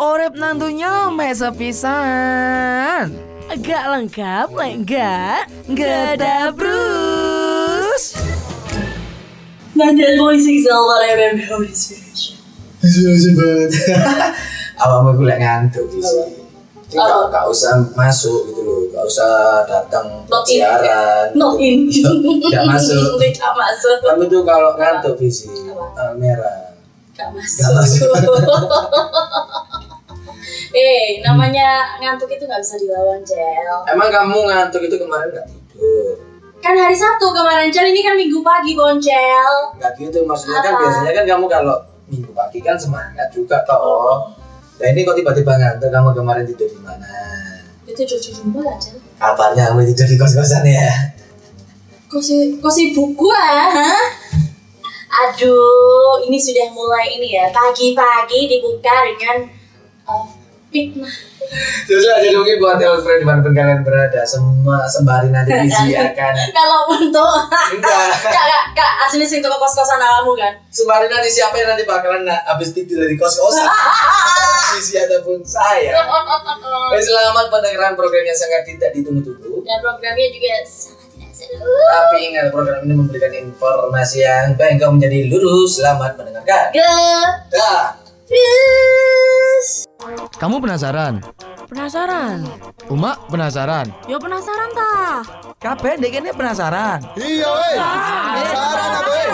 Urip nang donya meh sepisan. Gak lengkap, enggak. Ya, Geda Bruce. Ben de voice example I remember how it's finished. sebut awakmu gue lek ngantuk di sini Jadi Apa? gak- gak usah masuk gitu loh gak usah datang Not in. siaran Not in. Gak masuk. Gak masuk. kamu tuh kalau ngantuk di sini tanggal merah Gak masuk. Eh, namanya ngantuk itu nggak bisa dilawan, Cel. emang kamu ngantuk itu kemarin gak tidur Kan hari Sabtu kemarin, Cel. Ini kan Minggu pagi, Boncel. Gak gitu maksudnya kan Apa? biasanya kan kamu kalau minggu pagi kan semangat juga Oh. toh. Nah ini kok tiba-tiba ngantuk kamu kemarin tidur di mana? Itu cucu jumbo lah, Cel. Kabarnya kamu tidur di kos-kosan ya? Kok si- kok sibuk gua, hah? Aduh, ini sudah mulai ini ya. Pagi-pagi dibuka dengan eh, fitnah. Terus aja mungkin buat Elfred dimanapun kalian berada semua sembari nanti disiarkan. Kalau untuk Enggak, Kak, kak, kak, aslinya sih toko kos-kosan alamu kan? sembari nanti siapa yang nanti bakalan na- habis tidur dari Oh, kos-kosan? Sisi ataupun saya. Dan selamat pendengaran program yang sangat tidak ditunggu-tunggu. Dan programnya juga sangat tidak seru Tapi ingat program ini memberikan informasi yang baik kau menjadi lurus. Selamat mendengarkan. Dah. Terus Kamu penasaran? Penasaran? Uma penasaran? Yo penasaran ta? Kabeh ndek kene penasaran. Iya weh. Penasaran apa weh?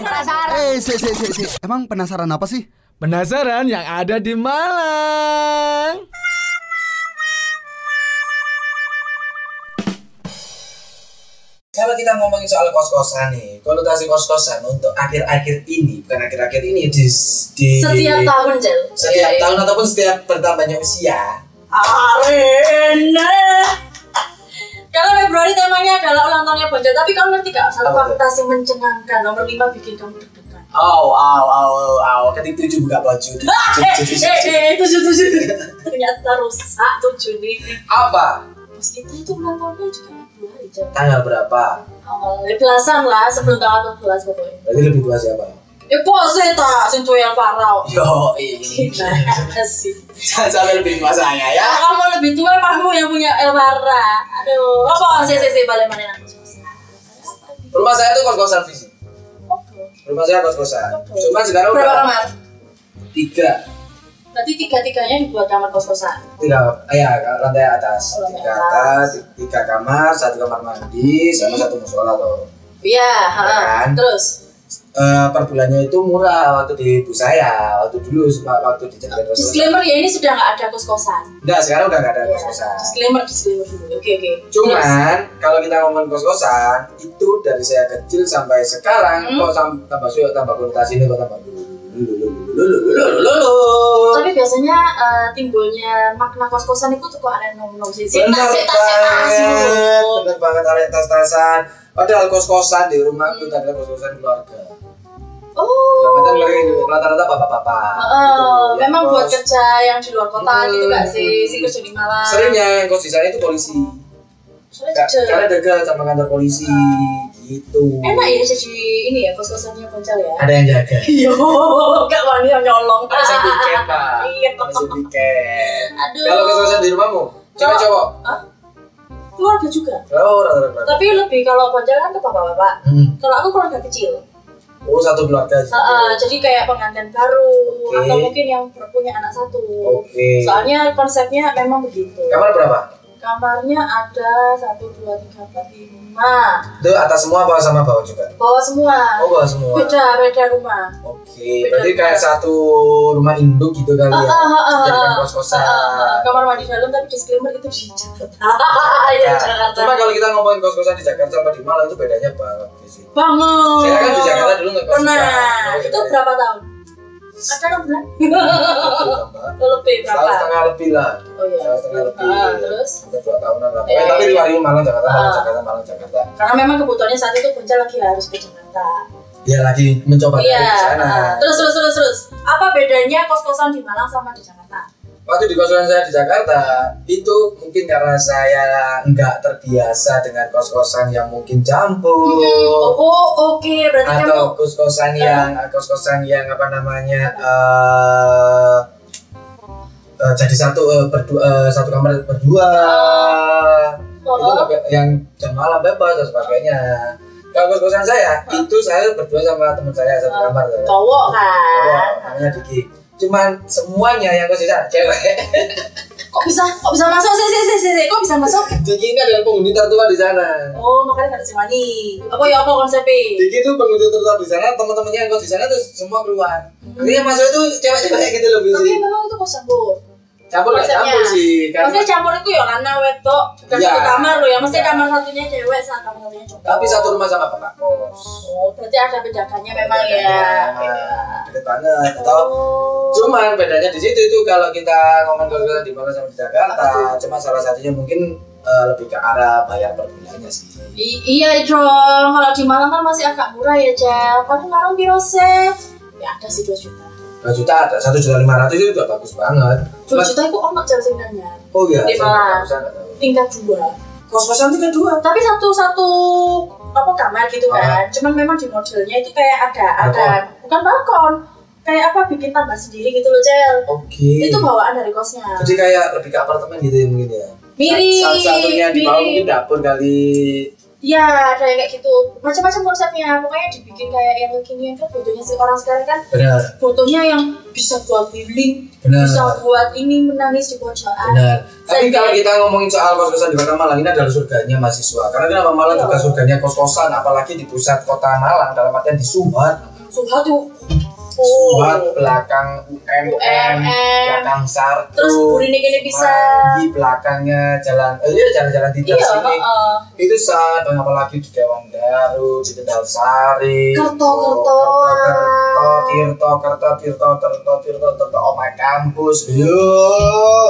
Penasaran. Eh, si, si, si, si. Emang penasaran apa sih? Penasaran yang ada di Malang. Kalau kita ngomongin soal kos-kosan nih, konotasi kos-kosan untuk akhir-akhir ini, bukan akhir-akhir ini di, di- Setiap tahun, Jel setiap tahun ataupun setiap bertambahnya usia. Arena Kalau Februari temanya adalah ulang tahunnya Bonjol Tapi kamu ngerti gak? Satu Apa tuh? fakta yang mencengangkan Nomor 5 bikin kamu deg-degan Au, au, au, au, au. Ketik oh, tujuh buka baju. Ah, eh, Tujuh, tujuh, eh, tujuh. eh, tujuh, tujuh Ternyata rusak tujuh nih Apa? Bos kita itu ulang tahunnya juga Februari, Jel Tanggal berapa? Awal belasan lah, sebelum tanggal 14 pokoknya Berarti lebih tua siapa? Ya pose tak, sing yang parau. Yo, ini. Gimana sih? Jangan sampai lebih tua saya ya. Kalau kamu lebih tua, kamu yang punya Elvara. Aduh. Apa sih sih sih balik mana aku susah. Rumah saya tuh kos-kosan visi. Oke. Rumah saya kos-kosan. Cuman sekarang Berapa udah kamar? tiga Berarti tiga tiganya dibuat kamar kos kosan. tiga eh, ya lantai atas Lantai tiga atas. atas tiga kamar satu kamar mandi sama satu musola tuh Iya. Iya ha. kan? Terus. Eh, per bulannya itu murah waktu di ibu saya waktu dulu sebab waktu di jalan kos kosan Disclaimer ya ini sudah nggak ada kos kosan. enggak sekarang udah nggak ada kos kosan Disclaimer, disclaimer dulu. Oke oke. Terus. cuman kalau kita ngomongin kos kosan itu dari saya kecil sampai sekarang Hmm. kok sam- tambah suyok tambah konotasi ini kok tambah lulu Tapi biasanya eh, timbulnya makna kos kosan itu tuh kok ada nom nom sih. Sita, Bener sita, banget, sita, bener banget tarik tas-tasan. Padahal kos-kosan di rumahku itu adalah kos-kosan keluarga. Hmm. Oh. Rata-rata mereka itu, rata-rata bapak-bapak. Heeh, gitu, yang memang buat kos. kerja yang di luar kota Hmm. gitu gak sih? Si kerja di Malang. Seringnya yang kos di sana itu polisi. Soalnya Ka- Karena kerja. dekat sama kantor polisi gitu. Enak ya jadi ini ya kos-kosannya Poncal ya. Ada yang jaga. Iya, gak wani yang nyolong. Ada yang piket pak. Iya. Ada yang piket. Aduh. Kalau kos-kosan di rumahmu, cewek Kalau- cowok. Hah? Keluarga juga. Oh, rata-rata. Tapi lebih kalau Poncal kan ke bapak-bapak. Hmm. Kalau aku keluarga kecil. Oh, satu keluarga. gitu. Heeh, jadi kayak pengantin baru Oke. atau mungkin yang punya anak satu. Oke. Soalnya konsepnya memang begitu. Kamar berapa? Kamarnya ada satu dua tiga empat lima. Itu atas semua apa sama bawah juga? Bawa semua. Oh, bawah semua. beda beda rumah Oke, berarti kayak satu rumah induk gitu kali ya? Jadikan kos-kosan. Ah, ah, kamar mandi dalam tapi disclaimer itu di Jakarta ya Nah, Jakarta Cuma kalau kita ngomongin kos-kosan di Jakarta sama di Malang itu bedanya banget di sini. bangun Saya kan di Jakarta dulu nggak kos pernah juga. itu berapa tahun ada enam bulan Ah, lebih Setahun berapa setengah lebih lah. oh iya Setahun setengah lebih. Ah, terus Hampir dua tahunan lah. Eh. Eh, tapi di Malang Malang Jakarta, Malang Ah. Jakarta, Malang Jakarta. karena memang kebutuhannya saat itu Punca lagi harus ke Jakarta Dia lagi mencoba iya dari sana. ah, terus terus terus terus apa bedanya kos kosan di Malang sama di Jakarta Waktu di kos-kosan saya di Jakarta itu mungkin karena saya nggak terbiasa dengan kos-kosan yang mungkin campur. oh, oh, oke berarti kamu eh, atau kos-kosan yang kos-kosan yang apa namanya eh jadi satu eh, berdua eh, satu kamar berdua itu Oh. nggak- yang jam malam bebas dan sebagainya kalau kos kosan saya Oh. itu saya berdua sama teman saya satu kamar Cowok, Cowok kan. namanya Diki cuman semuanya yang kos di sana cewek Kok bisa? Kok bisa masuk? Sih, sih, sih, sih, sih. Kok bisa masuk? Diki ini adalah penghuni tertua di sana Oh, makanya harus mani. Apa ya apa konsepnya? Diki itu penghuni tertua di sana, teman-temannya yang kos di sana terus semua keluar. Artinya masuk itu cewek-cewek gitu loh Bu Hmm. Tapi sih. memang itu kok campur. Campur nggak Konsepnya. campur sih, karena Maksudnya campur itu ya lanang wedok. Bukan Iya. satu kamar loh ya. Maksudnya Iya. kamar satunya cewek, sama kamar satunya cowok. tapi satu rumah sama bapak kos. Oh, berarti ada bedakannya memang ya. Nah, Deket banget. Atau Oh. cuman bedanya di situ itu kalau kita ngomong kalau di mana sama di Jakarta, cuma salah satunya mungkin eh, lebih ke arah bayar per bulannya sih. I- iya dong, kalau di Malang kan masih agak murah ya, Jam. Kan Malang piro sih? Ya ada sih 2 juta. 2 juta ada, satu juta lima ratus itu udah bagus banget. 2 Cuman- juta itu ono jam sing nanyar. oh iya, Di saya Malang. nggak tahu, saya nggak tahu. Tingkat 2. Kos-kosan itu kan dua. Tapi satu-satu apa kamar gitu kan. Cuman memang di modelnya itu kayak ada ada bukan balkon. Kayak apa bikin tambah sendiri gitu loh, Cel. Oke. Itu bawaan dari kosnya. Iya. Jadi kayak lebih ke apartemen gitu ya mungkin ya. Mirip. Salah satunya di bawah mungkin mirip. dapur kali. Iya, ada yang kayak gitu. Macam-macam konsepnya. Pokoknya dibikin kayak yang kekinian kan butuhnya si orang sekarang kan Benar, fotonya yang bisa buat healing, Benar. bisa buat ini menangis di pojokan. benar. Saya- Tapi kalau kita ngomongin soal kos-kosan di Kota Malang ini adalah surganya mahasiswa. Karena kenapa Malang Iya. juga surganya kos-kosan, apalagi di pusat Kota Malang dalam artian di Suhat, Suha tuh. Oh. Suhat belakang UMM, UMM. belakang Sartu. Terus burine kene bisa. Semanggi, belakangnya jalan, eh, iya jalan-jalan tidak Iya, sini. heeh. itu saat dan apalagi di Dewan Daru, di Kendal Sari, Kerto, Kerto, Kertoan. Kerto, Tirto, Kerto, Tirto, Tirto, Tirto, Tirto, Oh my kampus, yo,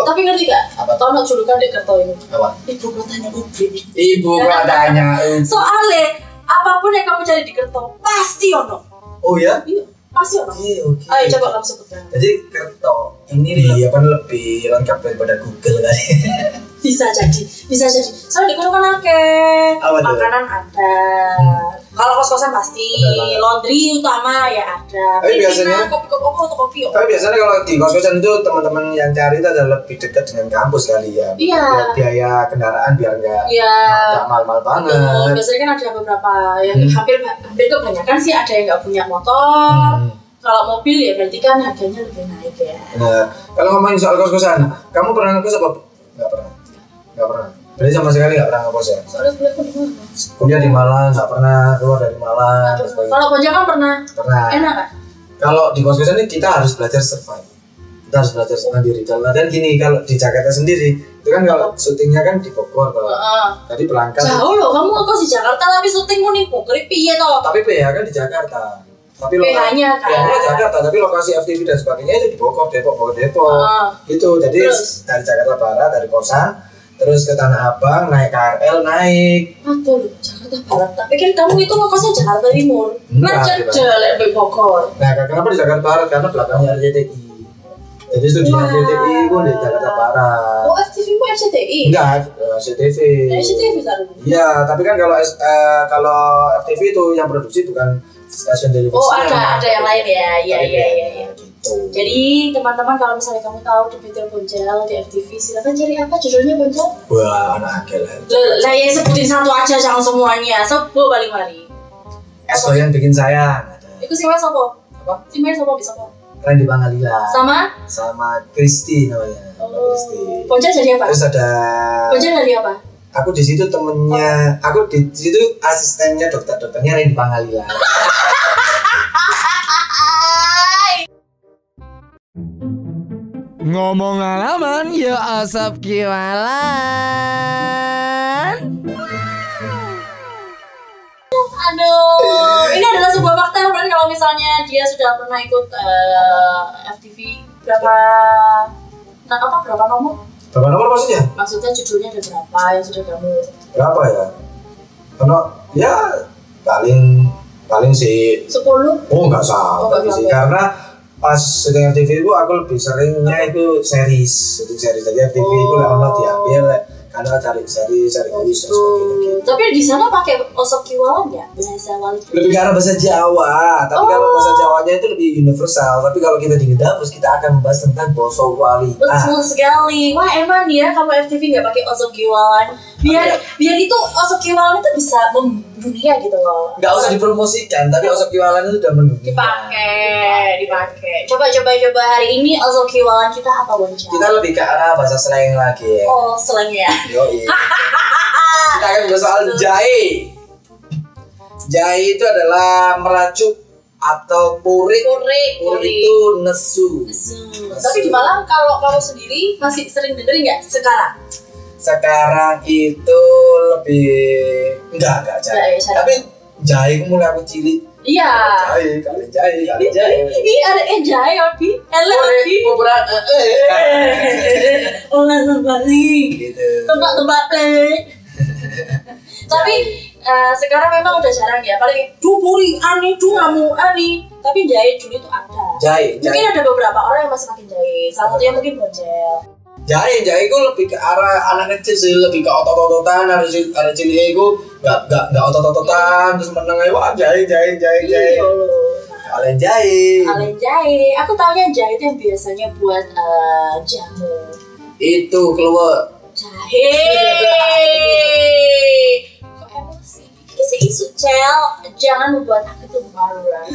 Tapi ngerti gak? Apa? Tau no julukan di kerto ini. Apa? Ibu kotanya UB. ibu katanya, Soalnya apapun yang kamu cari di kerto pasti ono. oh ya, Iya, pasti ono. oke, oke. Ayo Oh iya, coba kamu sebutkan. Jadi Kerto ini dia kan lebih lengkap daripada Google kan. kali. Bisa jadi, bisa jadi. Soalnya di kono kan akeh Apa tuh? Hmm. makanan ada. Kalau kos-kosan pasti, Benar banget. laundry utama ya ada. Tapi biasanya- kopi-kopi aku untuk kopi. oh. Tapi biasanya kalau di kos-kosan itu teman-teman yang cari itu adalah lebih dekat dengan kampus kali ya. Iya. Biar Biaya kendaraan biar nggak Iya. nggak mahal-mahal Betul, banget. biasanya kan ada beberapa yang Hmm. hampir hampir kebanyakan sih ada yang nggak punya motor. Hmm. Kalau mobil ya berarti kan harganya lebih naik ya. Benar. Kalau ngomongin soal kos-kosan, kamu pernah ngekos apa? Enggak pernah. Enggak pernah. Berarti sama sekali enggak pernah ngekos ya. Soalnya kuliah aku di mana? Kuliah di Malang, enggak pernah keluar dari Malang, Aduh, dan sebagainya. Kalau Bonjol kan pernah Pernah. enak kan? Kalau di kos-kosan ini kita harus belajar survive. Kita harus belajar sendiri. Dalam artian gini, kalau di Jakarta sendiri, itu kan kalau syutingnya kan di Bogor toh. Heeh. Tadi berangkat. Jauh loh, kamu ngekos di Jakarta tapi syutingmu nih pokoknya piye toh? Tapi PH kan di Jakarta. Tapi PH-nya kan. PH-nya Jakarta, tapi lokasi FTV dan sebagainya itu di Bogor, Depok, Bogor, Depok. Ah. Gitu. Jadi Terus? dari Jakarta Barat, dari kosan, terus ke Tanah Abang, naik KRL, naik. Aduh, loh, Jakarta Barat. Tapi kan kamu itu ngekosnya Jakarta Timur. Enggak, Macet Pak. jelek di Bogor. Nah, kenapa di Jakarta Barat? Karena belakangnya RCTI. Jadi studinya Wah. RCTI pun di Jakarta Barat. Oh, FTV mu RCTI. Enggak, eh, CTV. RCTI bisa dulu. Iya, tapi kan kalau S- eh, kalau FTV itu yang produksi bukan stasiun televisi. Oh, ada ada yang lain ya. Iya, iya, iya, iya. Gitu. Jadi teman-teman kalau misalnya kamu tahu The Peter Bonjel di FTV silakan cari apa judulnya Bonjel? Wah, anak akeh lah. Lah ya sebutin satu aja jangan semuanya. Sopo balik mari. Eh, Es goyang bikin sayang. Ada Iku sing main sopo? apa? Sing main sopo bisa sopo? Randy Pangalila Sama? sama Kristi namanya. Sama Oh. Kristi. Bonjel jadi apa? Terus ada Bonjel dari apa? aku di situ temennya, aku di situ asistennya dokter-dokternya Randy Pangalila. Ngomong alaman ya asap kiwalan. Aduh, ini adalah sebuah fakta kan kalau misalnya dia sudah pernah ikut eh, FTV berapa nah, apa berapa nomor? Berapa nomor maksudnya? Maksudnya judulnya ada berapa yang sudah kamu? Berapa ya? Karena ya paling paling sih Sepuluh? oh nggak salah Oh, nggak sih sampai. karena pas Oh. syuting RTV itu aku lebih seringnya itu series syuting series jadi FTV itu lah ono diambil karena cari cari cari kuis gitu. dan Tuh. Oh, sebagainya Tapi di sana pakai osok kiwalan ya? Bahasa Wali. lebih ke arah bahasa Jawa tapi kalau bahasa Oh. Jawanya itu lebih universal tapi kalau kita di Gedapus kita akan membahas tentang Boso Wali Ah, Betul sekali. Wah emang ya kamu FTV nggak pakai osok kiwalan. Iya. Biar biar itu osok kiwalan itu bisa mendunia gitu loh. nggak usah dipromosikan tapi Osok Kiwalan itu udah mendunia Dipakai, dipakai. Coba coba coba hari ini osok kiwalan kita apa Bonca? kita lebih ke arah bahasa slang lagi ya Oh slang ya. Yoi. kita akan bahas soal jahe jahe itu adalah meracuk atau purik Kurik, kurik. purik itu nesu Zoom. Tapi di Malang kalau kamu sendiri masih sering dengerin nggak sekarang? sekarang itu lebih enggak enggak Ah. jahe Enggak, ya, jahe. tapi jahe aku mulai aku cilik Iya. jahe kali jahe kali jahe Ini ada eh jahe Opi. Hello Purik, Opi. pupuran, eh, eh, eh. Ulang kembali. gitu tempat-tempat play. Tapi eh, sekarang memang udah jarang ya. Paling dupuri ani du kamu ani. Tapi jahe Juli itu ada. jahe Mungkin jahe ada beberapa orang yang masih makin jahe. Salah satunya mungkin bocel. jahe jahe gue lebih ke arah anak kecil sih lebih ke otot-ototan harus ada cilik gue nggak nggak nggak otot-ototan terus menang aja wah jahe jahe jahe jahe Iya loh. kalian jahe Alen jahe. Aku taunya jahe itu yang biasanya buat eh, jamu. itu keluar Jahe. Kok emosi? Ini sih isu cel. Jangan membuat aku tuh marah.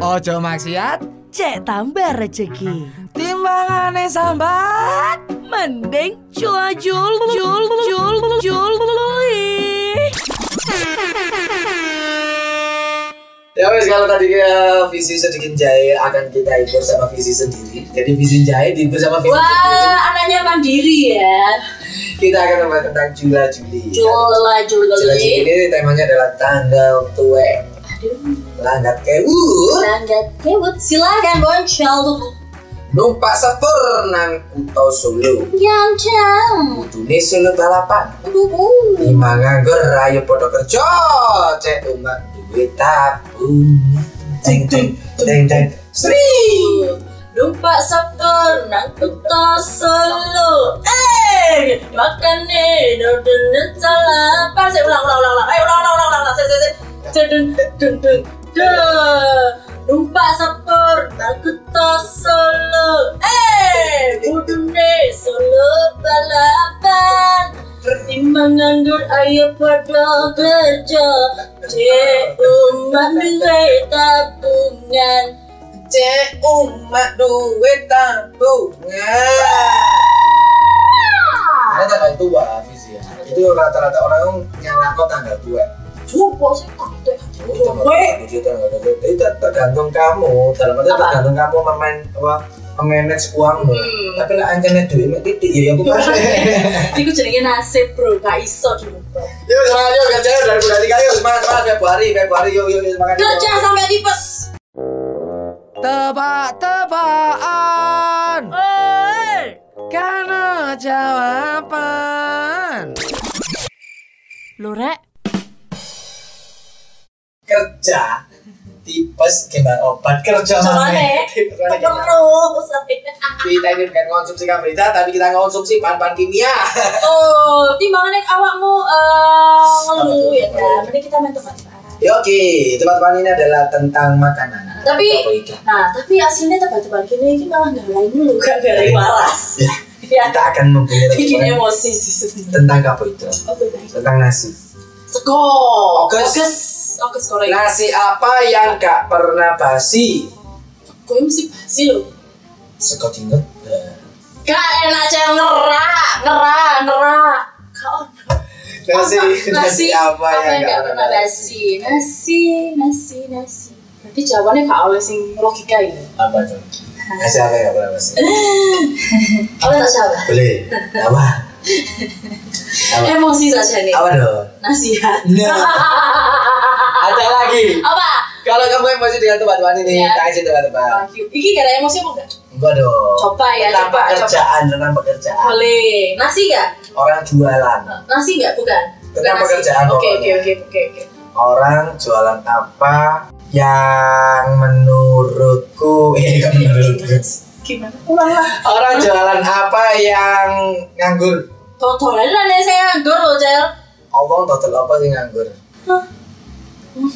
Ojo maksiat Cek tambah rezeki. Timbangane sambat Mending cua jul jul jul jul Ya wes kalau tadi ya, visi sedikit jahe akan kita ikut sama visi sendiri. Jadi visi jahe diikut sama visi sendiri. Wah, anaknya mandiri ya. Kita akan membahas tentang Jula Juli. Jola Jola Jula Juli ini temanya adalah tanggal tua. Aduh, Langgat kewu, berangkat kewut. Silakan boncel tuh. numpak sepur nang kuto Solo. Yang uh. jam. Kudune Solo balapan. Lima nganggur ayo podo kerja. Cek umat duit tabung. Teng teng teng teng. Sri. Lupa Sabtu nang kuto solo. Eh, makan nih, dodon salah. Pas saya ulang, ulang, ulang, ulang. Ayo ulang, ulang, ulang, ulang, ulang. Saya, saya, saya. Dodon, dodon, dodon. Lupa Sabtu nang kuto solo. Eh, kudu nih solo balapan. Pertimbang nganggur ayo pada kerja. Cek umat duwe tabungan. Cek umat duit Nah. tabungan. Ah! Karena tanggal tua visi ya. Itu rata-rata orang nyala kok tanggal tua. Coba sih takut Itu tanggal tua, itu tanggal tua. Itu tergantung kamu. Dalam arti Apa? tergantung kamu memain apa memanage uangmu. Hmm. Tapi lah anjingnya duit mah titik ya ya aku kan. Iku jenenge nasib bro, gak iso dirubah. Yuk semangat yuk kerja yuk, dari bulan tiga yuk semangat semangat Februari Februari yuk yuk yuk, semangat. yuk. Kerja sampai tipes. Tebak-tebakan Karena jawaban Lu rek, Kerja tipes gimana obat kerja Coba nih, maneh. Tipes maneh tekan gimana? terus. kita ini bukan konsumsi karbohidrat tapi kita konsumsi bahan-bahan kimia Oh, timbangannya awakmu eh, ngeluh ya kan. Mending kita main tebak-tebakan. Ya, oke teman-teman ini adalah tentang makanan Tapi, Karbohidrat. nah tapi aslinya tebak-tebakan gini ini malah nggak lain dulu kan dari waras. ya, Ya, kita akan mempunyai bikin teman-teman emosi sih sebenarnya. tentang karbohidrat Oke baik. tentang nasi Sego. Oges. Oges. Oges Korea. nasi apa yang gak pernah basi Gue mesti basi loh. sego dinget Gak enak cewek ngerak, ngerak, ngerak. Gak ono. nasi nasi apa yang gak pernah basi basi nasi nasi nasi berarti jawabannya gak oleh sing logika gitu apa tuh nasi apa ya, yang gak pernah basi oleh tak jawab boleh apa apa emosi saja nih apa dong nasihat Nah. ada lagi apa kalau kamu emosi dengan teman-teman ini Iya. kita kasih teman-teman Iki gara emosi apa enggak? Enggak dong. Coba ya, Tentang coba, pekerjaan, tentang pekerjaan. Boleh. Nasi enggak? Orang jualan. Nasi enggak bukan? Bukan nasi. Tentang pekerjaan Oke, oke, pokoknya. oke, oke, oke. Orang jualan apa yang menurutku eh kok menurutku Gimana? Ulang lah. orang jualan apa yang nganggur Totolan lah nih saya nganggur loh cel. Awang total apa sih nganggur? Hah? Hmm,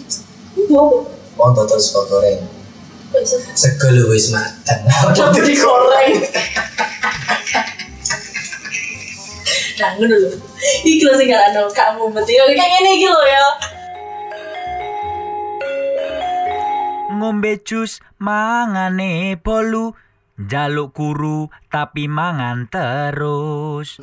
iya, Bu. Wong total sego goreng. Kok bisa? Sego lu wis mateng. Apa digoreng? Nah, ngono lho. Iki lho sing ngarano kamu mesti kok kayak ngene iki lho ya. ngombe jus mangane bolu jaluk kuru tapi mangan terus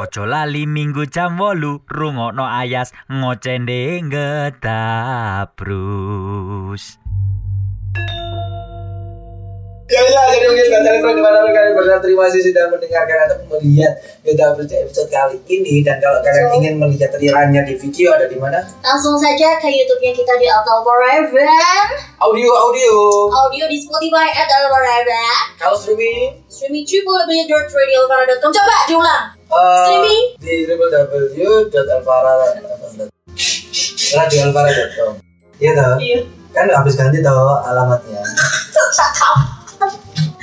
Ojo lali minggu jam wolu rungokno ayas ngocende ngedabrus Ya ya, jadi mungkin baca itu di mana kalian benar terima kasih sudah mendengarkan atau melihat Beta Berita episode kali ini dan kalau kalian So- ingin melihat rirannya di video ada di mana? Langsung saja ke YouTube-nya kita di Altal Forever. Audio audio. Audio di Spotify at Altal Forever. Kalau streaming Streaming www.radioalvara.com Coba diulang. eh, Streaming. di www.alvara.com. radioalvara.com. Iya toh? Iya. Kan habis ganti toh alamatnya. Cakap.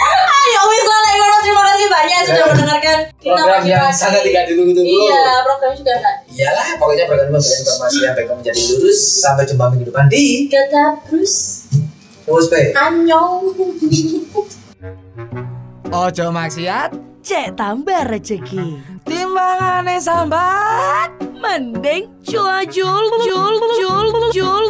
Ayo wis lah Nek Goro. terima kasih banyak sudah Eh, mendengarkan kita Program yang pagi-pagi. sangat tidak ditunggu-tunggu. Iya, program juga enggak. Iyalah, pokoknya program memberikan informasi yang baik menjadi lurus. Sampai jumpa minggu depan di Kata Bruce, USB. anyong. Ojo maksiat Cek tambah rezeki. timbangane sambat Mending jual jual jual jual jual